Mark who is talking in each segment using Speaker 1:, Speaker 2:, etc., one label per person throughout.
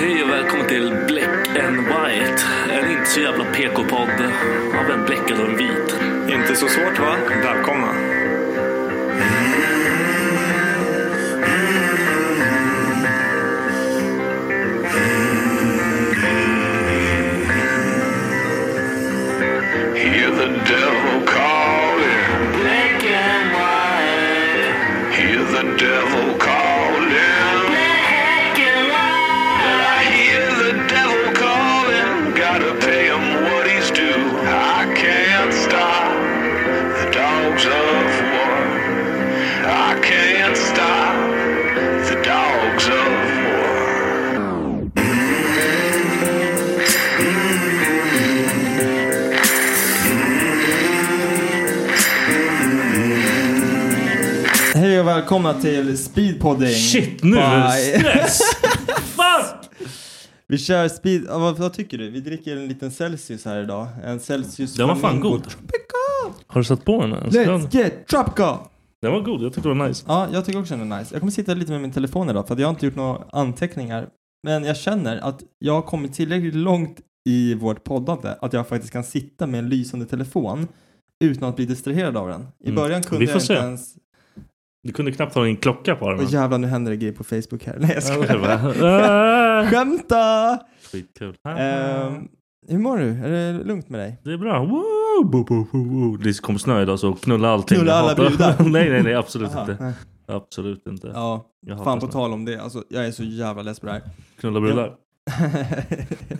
Speaker 1: Hej och välkommen till Black and White. En inte så jävla PK-podd av en bläckad och en vit.
Speaker 2: Inte så svårt va? Välkomna.
Speaker 3: Hear the devil calling. Black and white. Hear the devil calling. Black and white. I hear the devil calling. Gotta pay him what he's due. I can't stop the dogs of war. I can't stop the dogs of war.
Speaker 4: Hej och välkomna till speedpodding.
Speaker 1: Shit, nu är det
Speaker 4: Bye.
Speaker 1: stress! Fan!
Speaker 4: Vi kör speed... ja, Vad, vad tycker du? Vi dricker en liten Celsius här idag. En Celsius...
Speaker 1: Den var fan
Speaker 4: Flamingo
Speaker 1: god.
Speaker 4: Tropical!
Speaker 1: Har du satt på den ens? Den,
Speaker 4: Let's get tropical!
Speaker 1: den var god, jag tyckte det var nice.
Speaker 4: Ja, jag tycker också den är nice. Jag kommer sitta lite med min telefon idag för att jag har inte gjort några anteckningar. Men jag känner att jag har kommit tillräckligt långt i vårt poddande att jag faktiskt kan sitta med en lysande telefon utan att bli distraherad av den. I
Speaker 1: Mm.
Speaker 4: början kunde
Speaker 1: Vi får
Speaker 4: jag
Speaker 1: se.
Speaker 4: inte ens...
Speaker 1: Du kunde knappt ha en klocka på armen.
Speaker 4: Åh jävlar, nu händer det grejer på Facebook här. Nej, jag
Speaker 1: Ja, det
Speaker 4: skojar.
Speaker 1: var- Ah,
Speaker 4: Skämta!
Speaker 1: Skitkul.
Speaker 4: Ehm, hur mår du? Är det lugnt med dig?
Speaker 1: Det är bra. Woo, bo, bo, bo, bo. Det kom snö idag så knulla allting.
Speaker 4: Knulla
Speaker 1: Jag
Speaker 4: alla
Speaker 1: hatar-
Speaker 4: brudar.
Speaker 1: nej, nej, nej. Absolut
Speaker 4: Aha,
Speaker 1: inte.
Speaker 4: nej.
Speaker 1: Absolut inte.
Speaker 4: Ja,
Speaker 1: Jag hatar
Speaker 4: fan på
Speaker 1: snö.
Speaker 4: tal om det. Alltså, jag är så jävla less på det här.
Speaker 1: Knulla brudar.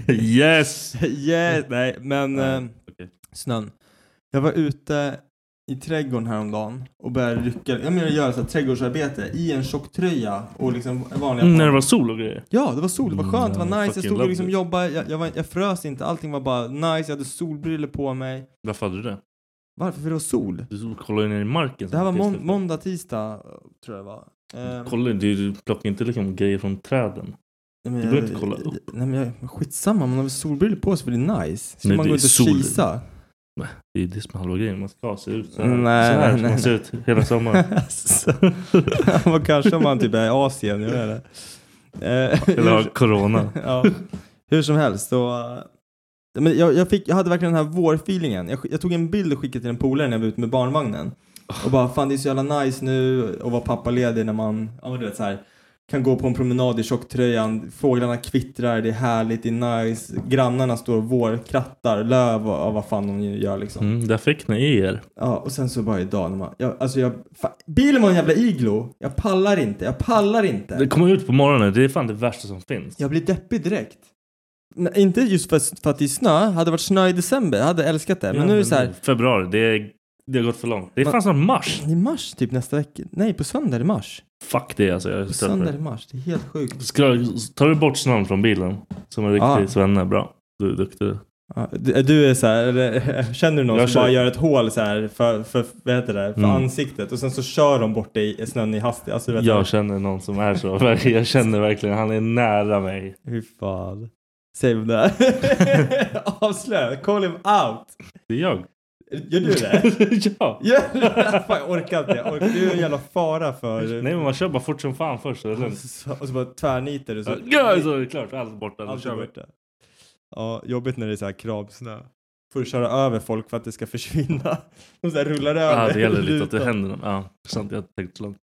Speaker 1: Yes!
Speaker 4: yeah, nej, men
Speaker 1: Nej,
Speaker 4: ehm,
Speaker 1: okej.
Speaker 4: snön. Jag var ute i trädgården häromdagen och började rycka, jag menar göra så här trädgårdsarbete i en tjocktröja och liksom vanliga
Speaker 1: Mm, när det var sol och grejer.
Speaker 4: Ja, det var sol, det var skönt, det
Speaker 1: Mm,
Speaker 4: var nice, jag
Speaker 1: fucking
Speaker 4: stod och liksom
Speaker 1: lovely.
Speaker 4: jobbade, jag, jag, var, jag frös inte, allting var bara nice, jag hade solbriller på mig.
Speaker 1: Varför hade du det?
Speaker 4: Varför? För det var sol.
Speaker 1: Du kollar ju ner i marken.
Speaker 4: Det här var mån-
Speaker 1: samtidigt.
Speaker 4: måndag, tisdag, tror jag det var. Ehm,
Speaker 1: Kolla, du du plockar inte liksom grejer från träden.
Speaker 4: Nej,
Speaker 1: Du behöver inte kolla upp.
Speaker 4: Nej men jag, men skitsamma, man har väl solbrillor på sig för det är nice. Ska
Speaker 1: Nej,
Speaker 4: man
Speaker 1: det
Speaker 4: gå
Speaker 1: är
Speaker 4: ut och
Speaker 1: sol.
Speaker 4: kisa?
Speaker 1: Det är ju det som är halva grejen. Man ska se ut så här.
Speaker 4: Nej,
Speaker 1: så här
Speaker 4: nej,
Speaker 1: ska
Speaker 4: nej,
Speaker 1: man se ut hela sommaren.
Speaker 4: Alltså, Vad kanske om man typ är i Asien, jag vet inte. Eh,
Speaker 1: Eller har
Speaker 4: hur-
Speaker 1: corona.
Speaker 4: ja, hur som helst, så... eh, Men jag, jag, fick, jag hade verkligen den här vårfeelingen. Jag, sk- jag tog en bild och skickade till en polare när jag var ute med barnvagnen. Och bara, fan det är så jävla nice nu att vara pappaledig när man, ja men du vet så här, kan gå på en promenad i tjocktröjan, fåglarna kvittrar, det är härligt, det är nice, grannarna står och vårkrattar löv och, och vad fan de nu gör liksom.
Speaker 1: Mm, där fick ni er.
Speaker 4: Ja, och sen så bara idag när man, jag, alltså jag, fa, bilen var en jävla iglo. Jag pallar inte, jag pallar inte.
Speaker 1: Det kommer ut på morgonen. Det är fan det värsta som finns.
Speaker 4: Jag blir deppig direkt. Nej, inte just för, för att det är snö, hade det varit snö i december, jag hade älskat det. Men nu är det så här,
Speaker 1: Februari. Det är Det har gått för långt. Det är
Speaker 5: Man-
Speaker 1: fan snart mars.
Speaker 5: I mars typ nästa vecka. Nej, på söndag är det mars.
Speaker 1: Fuck det alltså. Jag är
Speaker 5: På
Speaker 1: ställd för
Speaker 5: söndag är
Speaker 1: det.
Speaker 5: det mars. Det är helt sjukt.
Speaker 1: Ska- Tar du bort snön från bilen? Som en riktig
Speaker 5: Ah.
Speaker 1: svenne. Bra. Du är duktig.
Speaker 5: Ja, du, du är så här, eller, känner du någon
Speaker 1: Jag
Speaker 5: som
Speaker 1: kör-
Speaker 5: bara gör ett hål så här för, för, vad heter det, för
Speaker 1: Mm.
Speaker 5: ansiktet och sen så kör de bort dig i snön i hastighet. Alltså, du vet,
Speaker 1: Jag känner någon som är så. Jag känner verkligen. Han är nära mig.
Speaker 5: Hur fan. Säg vem det är. Avslöja, call him out.
Speaker 1: Det är jag.
Speaker 5: Gör du det?
Speaker 1: ja.
Speaker 5: Gör du det? Fan, jag orkar inte. Jag orkar. Du är en jävla fara för...
Speaker 1: Nej men man kör bara fort som fan först. så är det
Speaker 5: Och
Speaker 1: lugnt.
Speaker 5: så, och så bara tvärnitar du. Så,
Speaker 1: Ja, så är det klart. Allt borta. Nu
Speaker 5: Allt
Speaker 1: kör
Speaker 5: är
Speaker 1: vi.
Speaker 5: borta. Ja, jobbigt när det är så här kravsnö. Får du köra över folk för att det ska försvinna. De så här rullar över.
Speaker 1: Ja, det gäller lite att det
Speaker 5: Lutar.
Speaker 1: händer något. Ja, sant. Jag har inte tänkt så långt.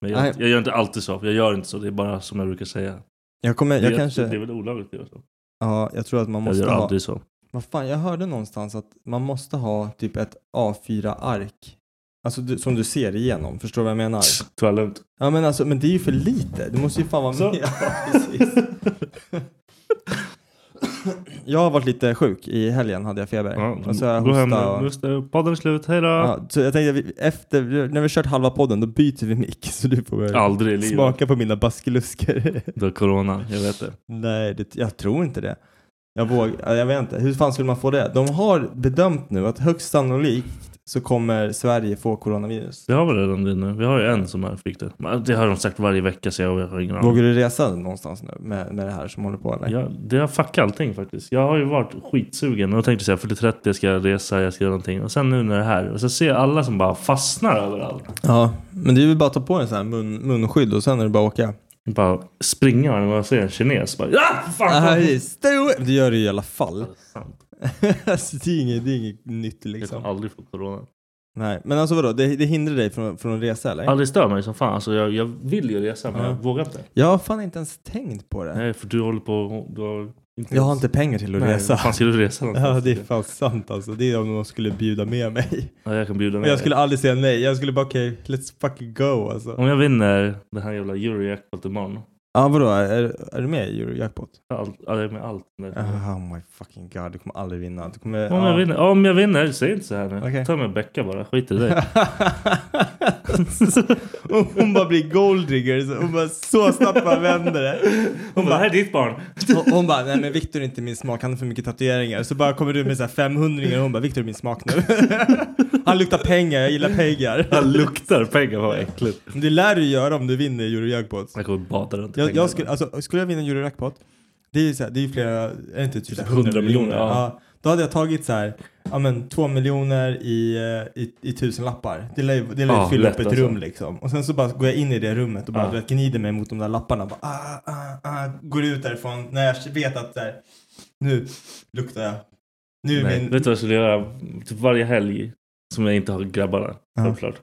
Speaker 1: Men
Speaker 5: Nej.
Speaker 1: jag, jag gör inte alltid så. Jag gör inte så. Det är bara som jag brukar säga.
Speaker 5: Jag kommer, jag
Speaker 1: det, är-
Speaker 5: kanske...
Speaker 1: det är väl olagligt att göra så.
Speaker 5: Ja, jag tror att man
Speaker 1: Jag
Speaker 5: måste
Speaker 1: gör
Speaker 5: ha...
Speaker 1: aldrig så.
Speaker 5: Vad fan, jag hörde någonstans att man måste ha typ ett A4-ark. Alltså du, som du ser igenom, förstår du vad jag menar?
Speaker 1: Ta det lugnt.
Speaker 5: Ja men alltså, men det är ju för lite. Du måste ju fan vara
Speaker 1: Så.
Speaker 5: med. Ja, precis. jag har varit lite sjuk. I helgen hade jag feber.
Speaker 1: Ja,
Speaker 5: och så har jag
Speaker 1: gå hem
Speaker 5: hosta
Speaker 1: nu.
Speaker 5: och-
Speaker 1: Nu är det- Podden är slut. Hej då.
Speaker 5: Ja, så jag tänkte, att vi- efter, när vi har kört halva podden, då byter vi mick. Så du får väl
Speaker 1: Aldrig i livet.
Speaker 5: smaka på mina baskelusker.
Speaker 1: Det är corona. Jag vet det.
Speaker 5: Nej, det, jag tror inte det. Jag vågar, jag vet inte. Hur fan skulle man få det? De har bedömt nu att högst sannolikt så kommer Sverige få coronavirus.
Speaker 1: Det har väl redan det nu. Vi har ju en som är fick det. Men Det har de sagt varje vecka så jag har ingen aning.
Speaker 5: Vågar du resa någonstans nu med, med det här som håller på eller?
Speaker 1: Ja, det har fuckat allting faktiskt. Jag har ju varit skitsugen och tänkte säga 40-30, jag ska resa, jag ska göra någonting. Och sen nu när det är här. Och så ser jag alla som bara fastnar överallt.
Speaker 5: Ja, men det är väl bara att ta på en sån här mun, munskydd och sen är det bara att åka.
Speaker 1: Bara springa när man ser en kines. Bara, ja, fan, fan.
Speaker 5: Nej, stå- Det gör det ju i alla fall.
Speaker 1: Det är sant.
Speaker 5: alltså, det, är inget, det är inget nytt
Speaker 1: Jag
Speaker 5: liksom.
Speaker 1: kommer aldrig få corona.
Speaker 5: Nej, men alltså vadå? Det, det hindrar dig från, från att resa eller?
Speaker 1: Aldrig stör mig som fan. Alltså, jag, jag vill ju resa men
Speaker 5: Ja.
Speaker 1: jag vågar inte.
Speaker 5: Jag har fan inte ens tänkt på det.
Speaker 1: Nej, för du håller på... Du har inte
Speaker 5: Jag har inte pengar till att
Speaker 1: Nej,
Speaker 5: resa.
Speaker 1: vad fan ska du resa
Speaker 5: Ja,
Speaker 1: någonstans?
Speaker 5: det är fan sant alltså. Det är om någon skulle bjuda med mig.
Speaker 1: Ja, jag kan bjuda
Speaker 5: Men
Speaker 1: med
Speaker 5: jag
Speaker 1: dig.
Speaker 5: skulle aldrig säga nej. Jag skulle bara okej, let's fucking go alltså.
Speaker 1: Om jag vinner den här jävla Eurojackpot imorgon.
Speaker 5: Ja, vadå? Är, är du med i Eurojackpot?
Speaker 1: Allt, ja, det är med allt.
Speaker 5: Oh my fucking god, du kommer aldrig vinna. Du kommer...
Speaker 1: Om jag vinner, om jag vinner, säg inte så här nu.
Speaker 5: Okej.
Speaker 1: Ta med Becka bara, skit i dig.
Speaker 5: Och Hon bara blir golddigger. så Hon bara så snabbt bara vänder det.
Speaker 1: Hon bara, här är ditt barn.
Speaker 5: Och Hon bara, nej men Viktor är inte min smak, han har för mycket tatueringar. Så bara kommer du med så här 500 och hon bara, Viktor är min smak nu. Han luktar pengar, jag gillar pengar.
Speaker 1: Han luktar pengar, vad äckligt.
Speaker 5: Det lär du göra om du vinner Eurojackpot.
Speaker 1: Jag kommer bada runt i
Speaker 5: Jag,
Speaker 1: pengar.
Speaker 5: jag skulle, alltså, skulle jag vinna Eurojackpot, det är ju så här, det är ju flera, är det inte typ
Speaker 1: 100 miljoner, ja.
Speaker 5: Då hade jag tagit så här, ja men två miljoner i, eh, i, i tusen lappar. Det lär ju det lär ju
Speaker 1: Ja,
Speaker 5: fylla
Speaker 1: lätt
Speaker 5: upp ett
Speaker 1: alltså.
Speaker 5: rum liksom. Och sen så bara går jag in i det rummet och bara
Speaker 1: Ja.
Speaker 5: du vet, gnider mig mot de där lapparna. Bara, ah, ah, ah, går ut därifrån när jag vet att så här, nu luktar jag. Nu är
Speaker 1: Nej,
Speaker 5: min...
Speaker 1: Vet du vad jag skulle göra? Typ varje helg som jag inte har grabbarna,
Speaker 5: Ja.
Speaker 1: självklart.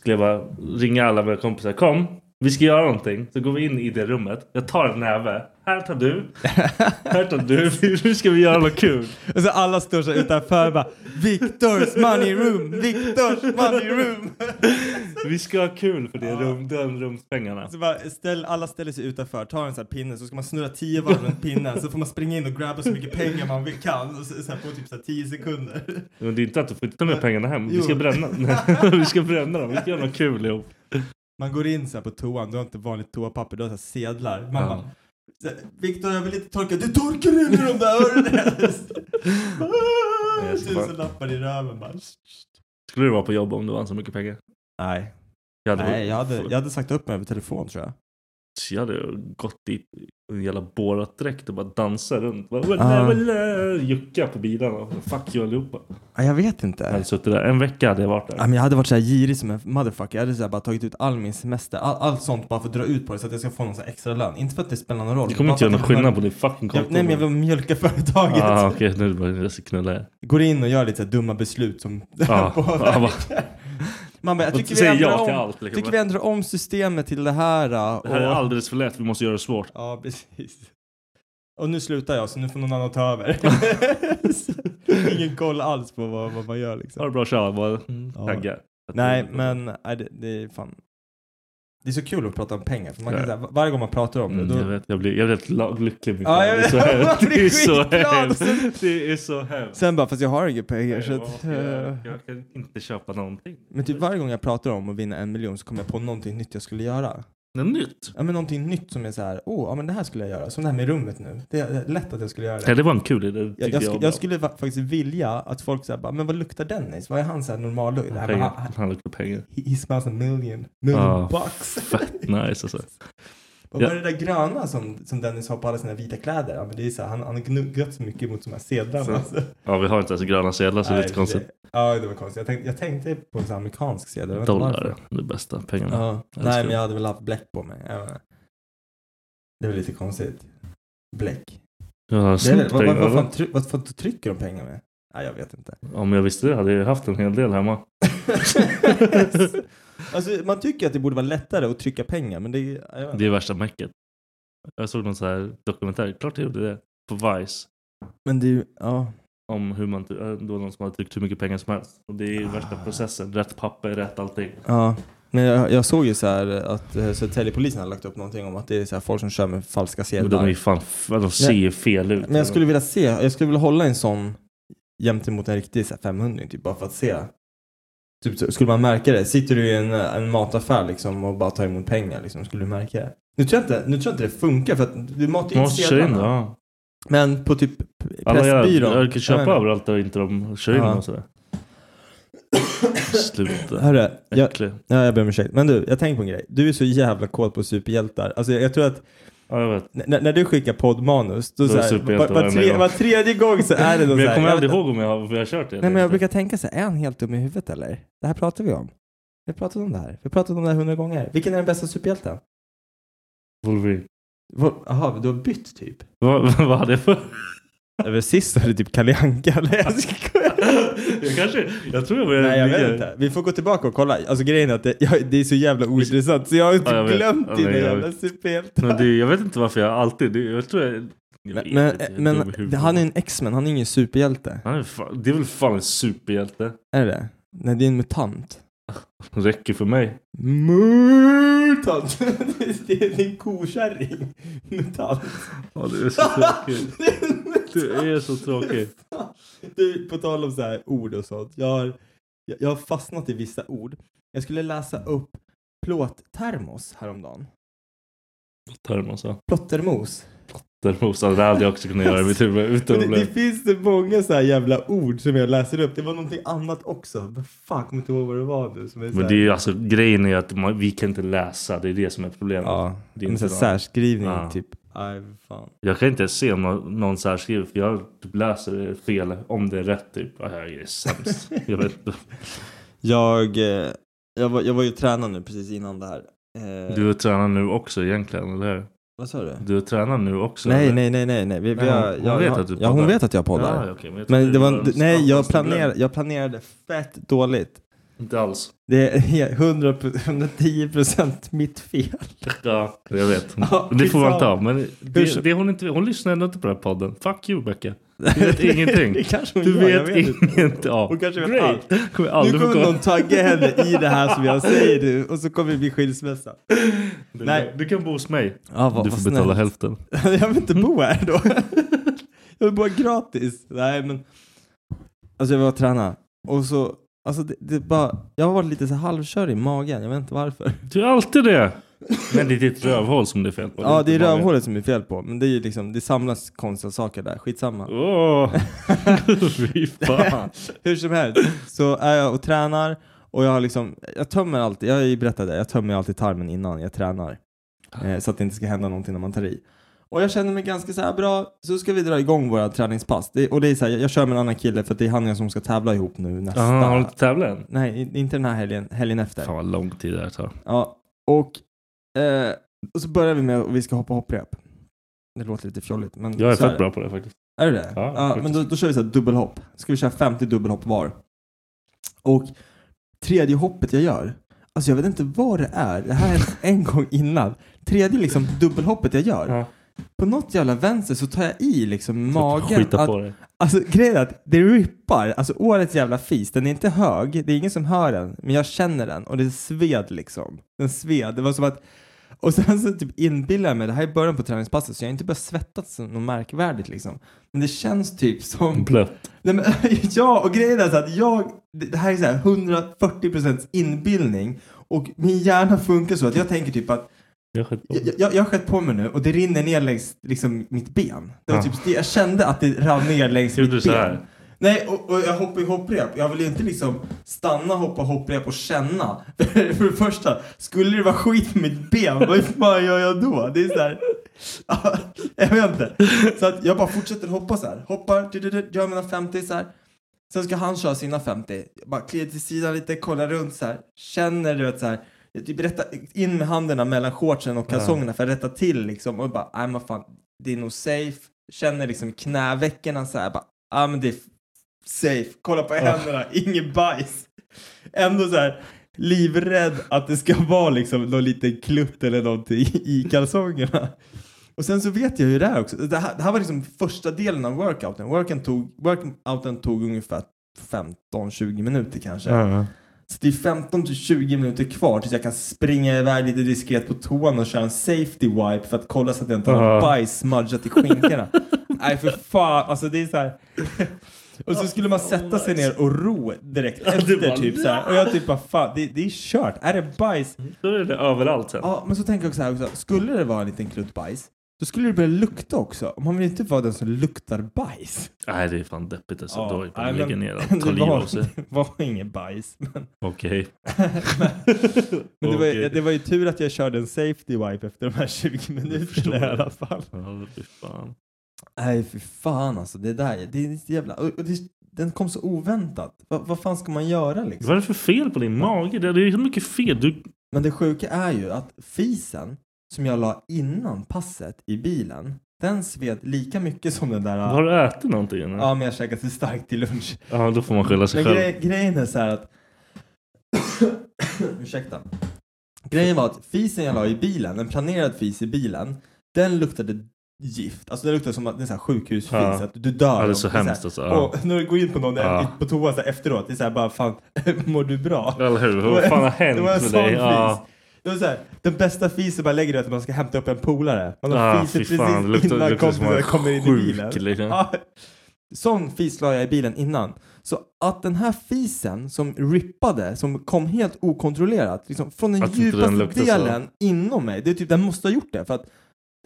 Speaker 1: Skulle jag bara ringa alla mina kompisar. Kom, vi ska göra någonting. Så går vi in i det rummet. Jag tar en näve. Här tar du. Här tar du. Nu ska vi göra något kul.
Speaker 5: Och så alla står så här utanför bara Victors money room, Victors money room.
Speaker 1: Vi ska ha kul för det är rum, den rumspengarna.
Speaker 5: Så bara ställ, alla ställer sig utanför, tar en sån här pinne, så ska man snurra tio varv runt pinnen, så får man springa in och grabba så mycket pengar man vill- kan och så, så här på typ så här tio sekunder.
Speaker 1: Men det är inte att du får ta med pengarna hem. Vi
Speaker 5: Jo.
Speaker 1: ska bränna, vi ska bränna dem. Vi ska göra något kul ihop.
Speaker 5: Man går in så här på toan, du har inte vanligt toapapper, du har så här sedlar. Man
Speaker 1: Ja.
Speaker 5: bara, så här, Viktor jag vill inte torka, du torkar ur med de där öronen!
Speaker 1: Nej,
Speaker 5: Ah,
Speaker 1: jag ska bara-
Speaker 5: Tusen lappar i röven bara.
Speaker 1: Skulle du vara på jobb om du vann så mycket pengar?
Speaker 5: Nej,
Speaker 1: Jag
Speaker 5: nej jag, hade, jag hade sagt upp mig över telefon tror jag.
Speaker 1: jag hade gått dit i en jävla Borat-dräkt och bara dansat runt. Bara,
Speaker 5: Ah.
Speaker 1: Jucka på bilarna. Fuck you allihopa.
Speaker 5: Ah, jag vet
Speaker 1: Jag
Speaker 5: inte.
Speaker 1: hade suttit där. En vecka hade jag varit
Speaker 5: Ja,
Speaker 1: där.
Speaker 5: Ah, men jag hade varit så här girig som en motherfucker. Jag hade så här bara tagit ut all min semester, all, allt sånt bara för att dra ut på det så att jag ska få någon så här extra lön. Inte för att det spelar någon roll.
Speaker 1: Det kommer
Speaker 5: bara
Speaker 1: inte
Speaker 5: för
Speaker 1: göra någon
Speaker 5: att jag-
Speaker 1: skillnad på din fucking konto.
Speaker 5: jag, Nej men jag vill mjölka företaget.
Speaker 1: Ah, okej, nu är det bara jag ska knulla er.
Speaker 5: Går in och gör lite så här dumma beslut som
Speaker 1: Ja, ja, Ah. va.
Speaker 5: Man bara, jag
Speaker 1: Och
Speaker 5: tycker vi,
Speaker 1: säger
Speaker 5: ändrar
Speaker 1: ja
Speaker 5: om,
Speaker 1: till allt, liksom.
Speaker 5: tycker vi ändrar om systemet till det här. äh,
Speaker 1: Det här är
Speaker 5: och-
Speaker 1: alldeles för lätt. Vi måste göra det svårt.
Speaker 5: Ja precis. Och nu slutar jag så nu får någon annan ta över. Ingen koll alls på vad, vad man gör liksom.
Speaker 1: Ha det bra, tja. Bara
Speaker 5: Ja.
Speaker 1: tagga.
Speaker 5: Nej, men nej, det, det är fan. Det är så kul att prata om pengar. För man
Speaker 1: Ja.
Speaker 5: kan, säga, var- varje gång man pratar om det,
Speaker 1: Mm,
Speaker 5: då,
Speaker 1: jag, vet, jag, blir, jag blir helt la- lycklig. min
Speaker 5: Ja,
Speaker 1: fan.
Speaker 5: jag
Speaker 1: det,
Speaker 5: vet.
Speaker 1: är så hemskt.
Speaker 5: Man blir
Speaker 1: det är så
Speaker 5: skitglad.
Speaker 1: hemskt. Det är så hemskt.
Speaker 5: Sen bara, fast jag har inga pengar. Så
Speaker 1: Vad
Speaker 5: att,
Speaker 1: ska jag, göra?
Speaker 5: eh.
Speaker 1: jag kan inte köpa någonting.
Speaker 5: Men typ varje gång jag pratar om att vinna en miljon så kommer jag på någonting nytt jag skulle göra.
Speaker 1: Något nytt?
Speaker 5: Ja, men någonting nytt som är så här, åh, ja, men det här skulle jag göra. Som det här med rummet nu. Det är, det är lätt att jag skulle göra det.
Speaker 1: Ja, det var en kul idé. tycker
Speaker 5: Jag, jag, sk-
Speaker 1: om.
Speaker 5: jag skulle fa- faktiskt vilja att folk säger bara, men vad luktar Dennis? Vad är han såhär normal? Det här, bara,
Speaker 1: pengar.
Speaker 5: "Ah,
Speaker 1: Han luktar pengar.
Speaker 5: he, he smells a million, million
Speaker 1: Ja,
Speaker 5: bucks.
Speaker 1: Fett nice alltså.
Speaker 5: Vad
Speaker 1: ja.
Speaker 5: var det där gröna som, som Dennis har på alla sina vita kläder? Ja, men det är så här, han han har gnuggat så mycket mot de här sedlarna.
Speaker 1: Så-
Speaker 5: alltså.
Speaker 1: Ja, vi har inte ens gröna sedlar så det är
Speaker 5: Nej,
Speaker 1: lite konstigt.
Speaker 5: det- Ja, det var konstigt. Jag tänkte, jag tänkte på en sån här amerikansk sedel. jag vet inte varför.
Speaker 1: Dollar är det bästa pengarna.
Speaker 5: Ja.
Speaker 1: Jag
Speaker 5: Nej,
Speaker 1: älskar
Speaker 5: men
Speaker 1: det.
Speaker 5: jag hade väl haft bläck på mig. Jag vet inte. Det var lite konstigt. Bläck.
Speaker 1: Jag har
Speaker 5: Det är,
Speaker 1: snott
Speaker 5: vad, vad, vad,
Speaker 1: pengar.
Speaker 5: fan, try- vad fan trycker de pengar med? Nej, jag vet inte.
Speaker 1: Om jag visste det hade jag haft en hel del hemma.
Speaker 5: alltså, man tycker att det borde vara lättare att trycka pengar, men det är... jag vet
Speaker 1: Det
Speaker 5: inte.
Speaker 1: är värsta mäcket. Jag såg någon så här dokumentär, klart jag gjorde det, på Vice.
Speaker 5: Men det är ju... Ja.
Speaker 1: Om hur man, det var någon som hade tryckt hur mycket pengar som helst. Och det är ju värsta
Speaker 5: Ah.
Speaker 1: processen. Rätt papper, rätt allting.
Speaker 5: ja. Men jag, jag såg ju så här att eh, Södertäljepolisen hade lagt upp någonting om att det är så här folk som kör med falska
Speaker 1: Men de är
Speaker 5: sedlar.
Speaker 1: ju fan, f- de ser ju fel ut.
Speaker 5: Men jag skulle vilja se, jag skulle vilja hålla en sån jämte mot en riktig så här 500 typ bara för att se. Typ, så- skulle man märka det? Sitter du i en, eh, en mataffär liksom och bara tar emot pengar liksom, skulle du märka det? Nu tror jag inte, nu tror jag inte det funkar för att du matar in
Speaker 1: Man kör in,
Speaker 5: sedlarna.
Speaker 1: ja.
Speaker 5: Men på typ
Speaker 1: Alla jag,
Speaker 5: Pressbyrån.
Speaker 1: jag kan köpa
Speaker 5: Jag vet inte.
Speaker 1: överallt där inte de kör in
Speaker 5: Ja.
Speaker 1: och sådär. Sluta.
Speaker 5: Hörru, jag,
Speaker 1: Äcklig.
Speaker 5: ja, jag ber om ursäkt. Men du, jag tänker på en grej. Du är så jävla kåt på superhjältar. Alltså jag, jag tror att
Speaker 1: Ja, jag vet.
Speaker 5: n- när- när du skickar poddmanus, då,
Speaker 1: Då är
Speaker 5: så här,
Speaker 1: superhjältar
Speaker 5: var, var,
Speaker 1: varenda
Speaker 5: tre,
Speaker 1: gång.
Speaker 5: var tredje gång så är det någon
Speaker 1: Men
Speaker 5: så
Speaker 1: jag
Speaker 5: här-
Speaker 1: kommer aldrig
Speaker 5: vet-
Speaker 1: ihåg om jag har, om jag har kört det.
Speaker 5: Nej men jag brukar tänka så här, är han helt dum i huvudet eller? Det här pratar vi om. Vi har pratat om det här. Vi har pratat om det här hundra gånger. Vilken är den bästa superhjälten?
Speaker 1: Wolverine.
Speaker 5: Vad- Jaha, du har bytt typ?
Speaker 1: Vad, vad hade jag för...
Speaker 5: Över sist var det typ Kalle Anka. eller? Jag skojar.
Speaker 1: Jag kanske... Jag tror jag började...
Speaker 5: Nej jag
Speaker 1: ligga-
Speaker 5: vet inte. Vi får gå tillbaka och kolla. Alltså grejen är att det, jag, det är så jävla ointressant så jag har inte
Speaker 1: Ja, jag vet. Ja,
Speaker 5: glömt dina
Speaker 1: men jag
Speaker 5: jävla
Speaker 1: vet.
Speaker 5: superhjältar.
Speaker 1: Men det, jag vet inte varför jag alltid... Det, jag tror jag... jag vet
Speaker 5: Men,
Speaker 1: inte, jag är
Speaker 5: men,
Speaker 1: dum i huvudet.
Speaker 5: men han är en X-Men, han är ingen superhjälte.
Speaker 1: Han är fan, det är väl fan en superhjälte.
Speaker 5: Är det Nej, det är en mutant.
Speaker 1: Det räcker för mig.
Speaker 5: Mutant! det är det är en kokärring. Mutant.
Speaker 1: Ja, det är så tråkigt.
Speaker 5: Det är en mutant.
Speaker 1: Du är så tråkig.
Speaker 5: Du, på tal om så här ord och sånt. Jag har, jag, jag har fastnat i vissa ord. Jag skulle läsa upp plåttermos häromdagen.
Speaker 1: Termos, ja.
Speaker 5: Plottermos.
Speaker 1: Termos, ja, det hade jag också kunnat göra i mitt huvud. Utan
Speaker 5: Men det, det
Speaker 1: problem.
Speaker 5: finns så många så här jävla ord som jag läser upp. Det var någonting annat också. Men fan, jag kommer inte ihåg vad det var nu. Som är så
Speaker 1: Men
Speaker 5: här-
Speaker 1: det är ju alltså grejen är att man, vi kan inte läsa. Det är det som är problemet.
Speaker 5: Ja,
Speaker 1: det är
Speaker 5: men
Speaker 1: inte
Speaker 5: så
Speaker 1: bra.
Speaker 5: här särskrivning
Speaker 1: Ja.
Speaker 5: typ. Nej, fan.
Speaker 1: Jag kan inte ens se om någon, någon så här skriver för jag typ läser det fel om det är rätt typ. Ja, jag är sämst. jag vet inte.
Speaker 5: Jag, eh, jag, var, jag var ju tränad nu precis innan det här. Eh,
Speaker 1: Du tränar nu också egentligen, eller hur?
Speaker 5: Vad sa du?
Speaker 1: Du tränar nu också?
Speaker 5: Nej,
Speaker 1: eller?
Speaker 5: nej, nej, nej, nej. Vi, vi
Speaker 1: Nej,
Speaker 5: har,
Speaker 1: hon- hon
Speaker 5: jag,
Speaker 1: vet
Speaker 5: jag,
Speaker 1: att du
Speaker 5: ja, hon
Speaker 1: poddar.
Speaker 5: vet att jag poddar.
Speaker 1: Ja, okej, men jag
Speaker 5: men
Speaker 1: tyckte
Speaker 5: det
Speaker 1: var
Speaker 5: var,
Speaker 1: den
Speaker 5: nej, jag
Speaker 1: snabbaste
Speaker 5: planerade,
Speaker 1: lögnen.
Speaker 5: jag planerade fett dåligt.
Speaker 1: Inte alls.
Speaker 5: Det är 100, 110% mitt fel.
Speaker 1: Ja, jag vet.
Speaker 5: Ja,
Speaker 1: det får man ta.
Speaker 5: skitsamma.
Speaker 1: Men
Speaker 5: Hur så-
Speaker 1: det, det hon, inte, hon lyssnar ändå inte på den här podden. Fuck you, Becka. Du vet ingenting.
Speaker 5: Det kanske hon
Speaker 1: Du
Speaker 5: gör, jag
Speaker 1: vet,
Speaker 5: inte.
Speaker 1: ingenting. Ja.
Speaker 5: Hon kanske vet
Speaker 1: Great. Kommer
Speaker 5: Nu
Speaker 1: aldrig få
Speaker 5: kommer
Speaker 1: kolla.
Speaker 5: någon tagga henne i det här som jag säger nu och så kommer det bli skilsmässa.
Speaker 1: Du-
Speaker 5: Nej.
Speaker 1: Du kan bo hos mig.
Speaker 5: Ja, vad-
Speaker 1: du
Speaker 5: vad
Speaker 1: får betala
Speaker 5: snällt.
Speaker 1: hälften.
Speaker 5: jag vill inte bo här då. jag vill bo här gratis. Nej men. Alltså jag var och tränade. Och så, alltså det, det bara, jag har varit lite så här halvkör i magen. Jag vet inte varför.
Speaker 1: Du är alltid det. Men det är ditt rövhål som det är fel på.
Speaker 5: Ja det är
Speaker 1: inte magen.
Speaker 5: rövhålet som är fel på. Men det är ju liksom, det samlas konstiga saker där. Skitsamma.
Speaker 1: Åh. Fy fan.
Speaker 5: Hur som helst så är jag och tränar och jag har liksom, jag tömmer alltid, jag har ju berättat det, jag tömmer alltid tarmen innan jag tränar. Eh, så att det inte ska hända någonting när man tar i. Och jag känner mig ganska så här bra, så ska vi dra igång våra träningspass. Det, och det är så här, jag, jag kör med en annan kille för att det är han och jag som ska tävla ihop nu nästa.
Speaker 1: Jaha, har du inte tävlat än?
Speaker 5: Nej, i- inte den här helgen, helgen efter.
Speaker 1: Fan vad lång tid det här tar.
Speaker 5: Ja, och, eh, och så börjar vi med att vi ska hoppa hopprep. Det låter lite fjolligt men
Speaker 1: Jag är
Speaker 5: så
Speaker 1: fett
Speaker 5: det.
Speaker 1: bra på det faktiskt.
Speaker 5: Är det det?
Speaker 1: Ja,
Speaker 5: Ja,
Speaker 1: faktiskt.
Speaker 5: men då, då kör vi så här dubbelhopp. Ska vi köra 50 dubbelhopp var. Och tredje hoppet jag gör, alltså jag vet inte vad det är. Det här är en gång innan. Tredje liksom dubbelhoppet jag gör.
Speaker 1: Ja.
Speaker 5: På något jävla vänster så tar jag i liksom
Speaker 1: Jag
Speaker 5: magen
Speaker 1: skita
Speaker 5: att,
Speaker 1: på det.
Speaker 5: Alltså grejen är att det rippar. Alltså årets jävla fis, den är inte hög, det är ingen som hör den, men jag känner den och det sved liksom. Den sved. Det var som att och sen så typ inbillar jag mig, det här är början på träningspasset så jag har inte börjat svettas något märkvärdigt liksom. Men det känns typ som...
Speaker 1: Blött.
Speaker 5: Nej, men, ja, och grejen är så att jag, det det här är så här 140% inbildning och min hjärna funkar så att jag tänker typ att
Speaker 1: Jag sköt på.
Speaker 5: jag, jag, jag har skett på mig nu och det rinner ner längs liksom, mitt ben. Det var
Speaker 1: Ja.
Speaker 5: typ, det, jag kände att det rann ner längs
Speaker 1: Gjorde
Speaker 5: mitt
Speaker 1: du
Speaker 5: ben.
Speaker 1: så här?
Speaker 5: Nej, och, och jag hoppar i hopprep. Jag vill ju inte liksom stanna, hoppa hopprep och känna. För det första, skulle det vara skit med mitt ben, vad fan gör jag då? Det är så här... Ja, jag vet inte. Så att jag bara fortsätter hoppa så här. Hoppar, du, du, du, gör mina 50 så här. Sen ska han köra sina 50. Jag bara kliar till sidan lite, kollar runt så här. Känner du att så här. Jag typ rättar in med händerna mellan shortsen och kalsongerna för att rätta till liksom. Och bara, nej men fan, det är nog safe. Känner liksom knävecken så här. Bara, ja men det är safe. Kolla på händerna, inget bajs. Ändå så här livrädd att det ska vara liksom någon liten klutt eller någonting i kalsongerna. Och sen så vet jag ju det här också. Det här, det här var liksom första delen av workouten. Workouten tog, workouten tog ungefär 15-20 minuter kanske. Så det är 15-20 minuter kvar tills jag kan springa iväg lite diskret på toan och köra en safety wipe för att kolla så att jag inte har
Speaker 1: Ja.
Speaker 5: något bajs smudgat i skinkorna. Nej för fan, alltså det är så här. Och så skulle man sätta sig ner och ro direkt efter
Speaker 1: bara,
Speaker 5: typ så här. Och jag typ bara fan, det, det är kört. Är det bajs?
Speaker 1: Då är det överallt sen.
Speaker 5: Ja, men så tänker jag också här också. Skulle det vara en liten klutt bajs, då skulle det börja lukta också. Och man vill inte vara den som luktar bajs.
Speaker 1: Nej, det är fan deppigt alltså.
Speaker 5: Ja,
Speaker 1: Då är det bara
Speaker 5: nej,
Speaker 1: att lägga
Speaker 5: men-
Speaker 1: ner allt. Ta
Speaker 5: det
Speaker 1: livet
Speaker 5: var-
Speaker 1: av sig.
Speaker 5: Det var ingen bajs. Men,
Speaker 1: Okej.
Speaker 5: men det, var,
Speaker 1: Okej.
Speaker 5: ju- det var ju tur att jag körde en safety wipe efter de här 20
Speaker 1: förstår
Speaker 5: minuterna i
Speaker 1: jag.
Speaker 5: alla fall.
Speaker 1: Ja, fy fan.
Speaker 5: Nej, för fan alltså. Det där, det är så jävla... Och, och det, den kom så oväntat. Va, vad fan ska man göra liksom?
Speaker 1: Vad är det för fel på din mage? Det är ju så mycket fel. Du...
Speaker 5: Men det sjuka är ju att fisen som jag la innan passet i bilen, den sved lika mycket som den där...
Speaker 1: Har du ätit någonting? eller?
Speaker 5: Ja, men jag käkade så starkt till lunch.
Speaker 1: ja, då får man skylla sig
Speaker 5: Men
Speaker 1: själv.
Speaker 5: gre- grejen är så här att... Ursäkta. Grejen var att fisen jag la i bilen, en planerad fis i bilen, den luktade gift. Alltså den luktade som att det är så här sjukhusfis,
Speaker 1: Ja.
Speaker 5: att du dör.
Speaker 1: Ja, det är
Speaker 5: om-
Speaker 1: så
Speaker 5: här-
Speaker 1: hemskt alltså, ja.
Speaker 5: Och när du går in på någon
Speaker 1: Ja.
Speaker 5: på toa så här efteråt, det är så här bara fan, mår du bra?
Speaker 1: Eller hur?
Speaker 5: Det var
Speaker 1: Vad fan har
Speaker 5: en-
Speaker 1: hänt
Speaker 5: det var en
Speaker 1: med
Speaker 5: sån
Speaker 1: dig?
Speaker 5: Fis.
Speaker 1: Ja.
Speaker 5: Det var så här, den bästa fisen man lägger är att man ska hämta upp en polare. Man har
Speaker 1: Ah,
Speaker 5: fisit
Speaker 1: fy fan, det
Speaker 5: precis
Speaker 1: luktar- det
Speaker 5: innan
Speaker 1: luktar som man är
Speaker 5: kompisen kommer in i
Speaker 1: sjuk,
Speaker 5: bilen.
Speaker 1: liksom.
Speaker 5: Ja. Sån fis la jag i bilen innan. Så att den här fisen som rippade, som kom helt okontrollerat, liksom från den
Speaker 1: Att inte den
Speaker 5: djupaste
Speaker 1: luktar så.
Speaker 5: delen inom mig. Det är typ, den måste ha gjort det för att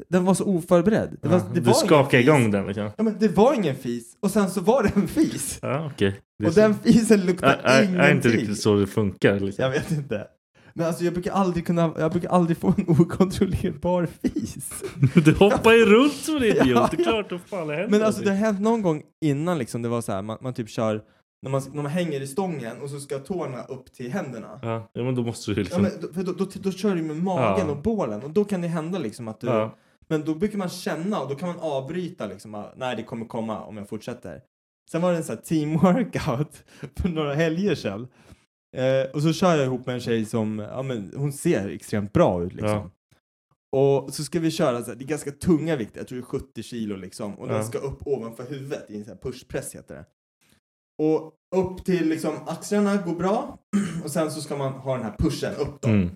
Speaker 5: den var så oförberedd. Det var,
Speaker 1: Ja,
Speaker 5: det
Speaker 1: du
Speaker 5: var ingen
Speaker 1: skakar
Speaker 5: fis.
Speaker 1: igång den liksom.
Speaker 5: Ja, men det var ingen fis och sen så var det en fis.
Speaker 1: Ja, okej. Det är
Speaker 5: Och
Speaker 1: så-
Speaker 5: den fisen
Speaker 1: Ä-
Speaker 5: luktar
Speaker 1: ä-
Speaker 5: ingenting.
Speaker 1: är inte riktigt så det funkar. Liksom.
Speaker 5: Jag vet inte. Men alltså jag brukar aldrig kunna, jag brukar aldrig få en okontrollerbar fis.
Speaker 1: Du hoppar ju runt som en idiot.
Speaker 5: Ja,
Speaker 1: Det är
Speaker 5: ja.
Speaker 1: klart att fan det händer.
Speaker 5: Men alltså det har
Speaker 1: någonting.
Speaker 5: hänt någon gång innan liksom det var så här, man, man typ kör, när man, när man hänger i stången och så ska tårna upp till händerna.
Speaker 1: ja. ja, men då måste du ju
Speaker 5: Ja,
Speaker 1: liksom...
Speaker 5: men då, för då, då, då kör du med magen
Speaker 1: Ja.
Speaker 5: och bålen och då kan det hända liksom att du,
Speaker 1: Ja.
Speaker 5: men då brukar man känna och då kan man avbryta liksom, ah, nej det kommer komma om jag fortsätter. Sen var det en sån här teamworkout för några helger sedan. Eh, och så kör jag ihop med en tjej som, ja men hon ser extremt bra ut liksom.
Speaker 1: Ja.
Speaker 5: Och så ska vi köra så här, det är ganska tunga vikter, jag tror det är 70 kilo liksom. Och
Speaker 1: Ja.
Speaker 5: den ska upp ovanför huvudet i en sån här pushpress heter det. Och upp till liksom axlarna går bra. Och sen så ska man ha den här pushen upp då.
Speaker 1: Mm.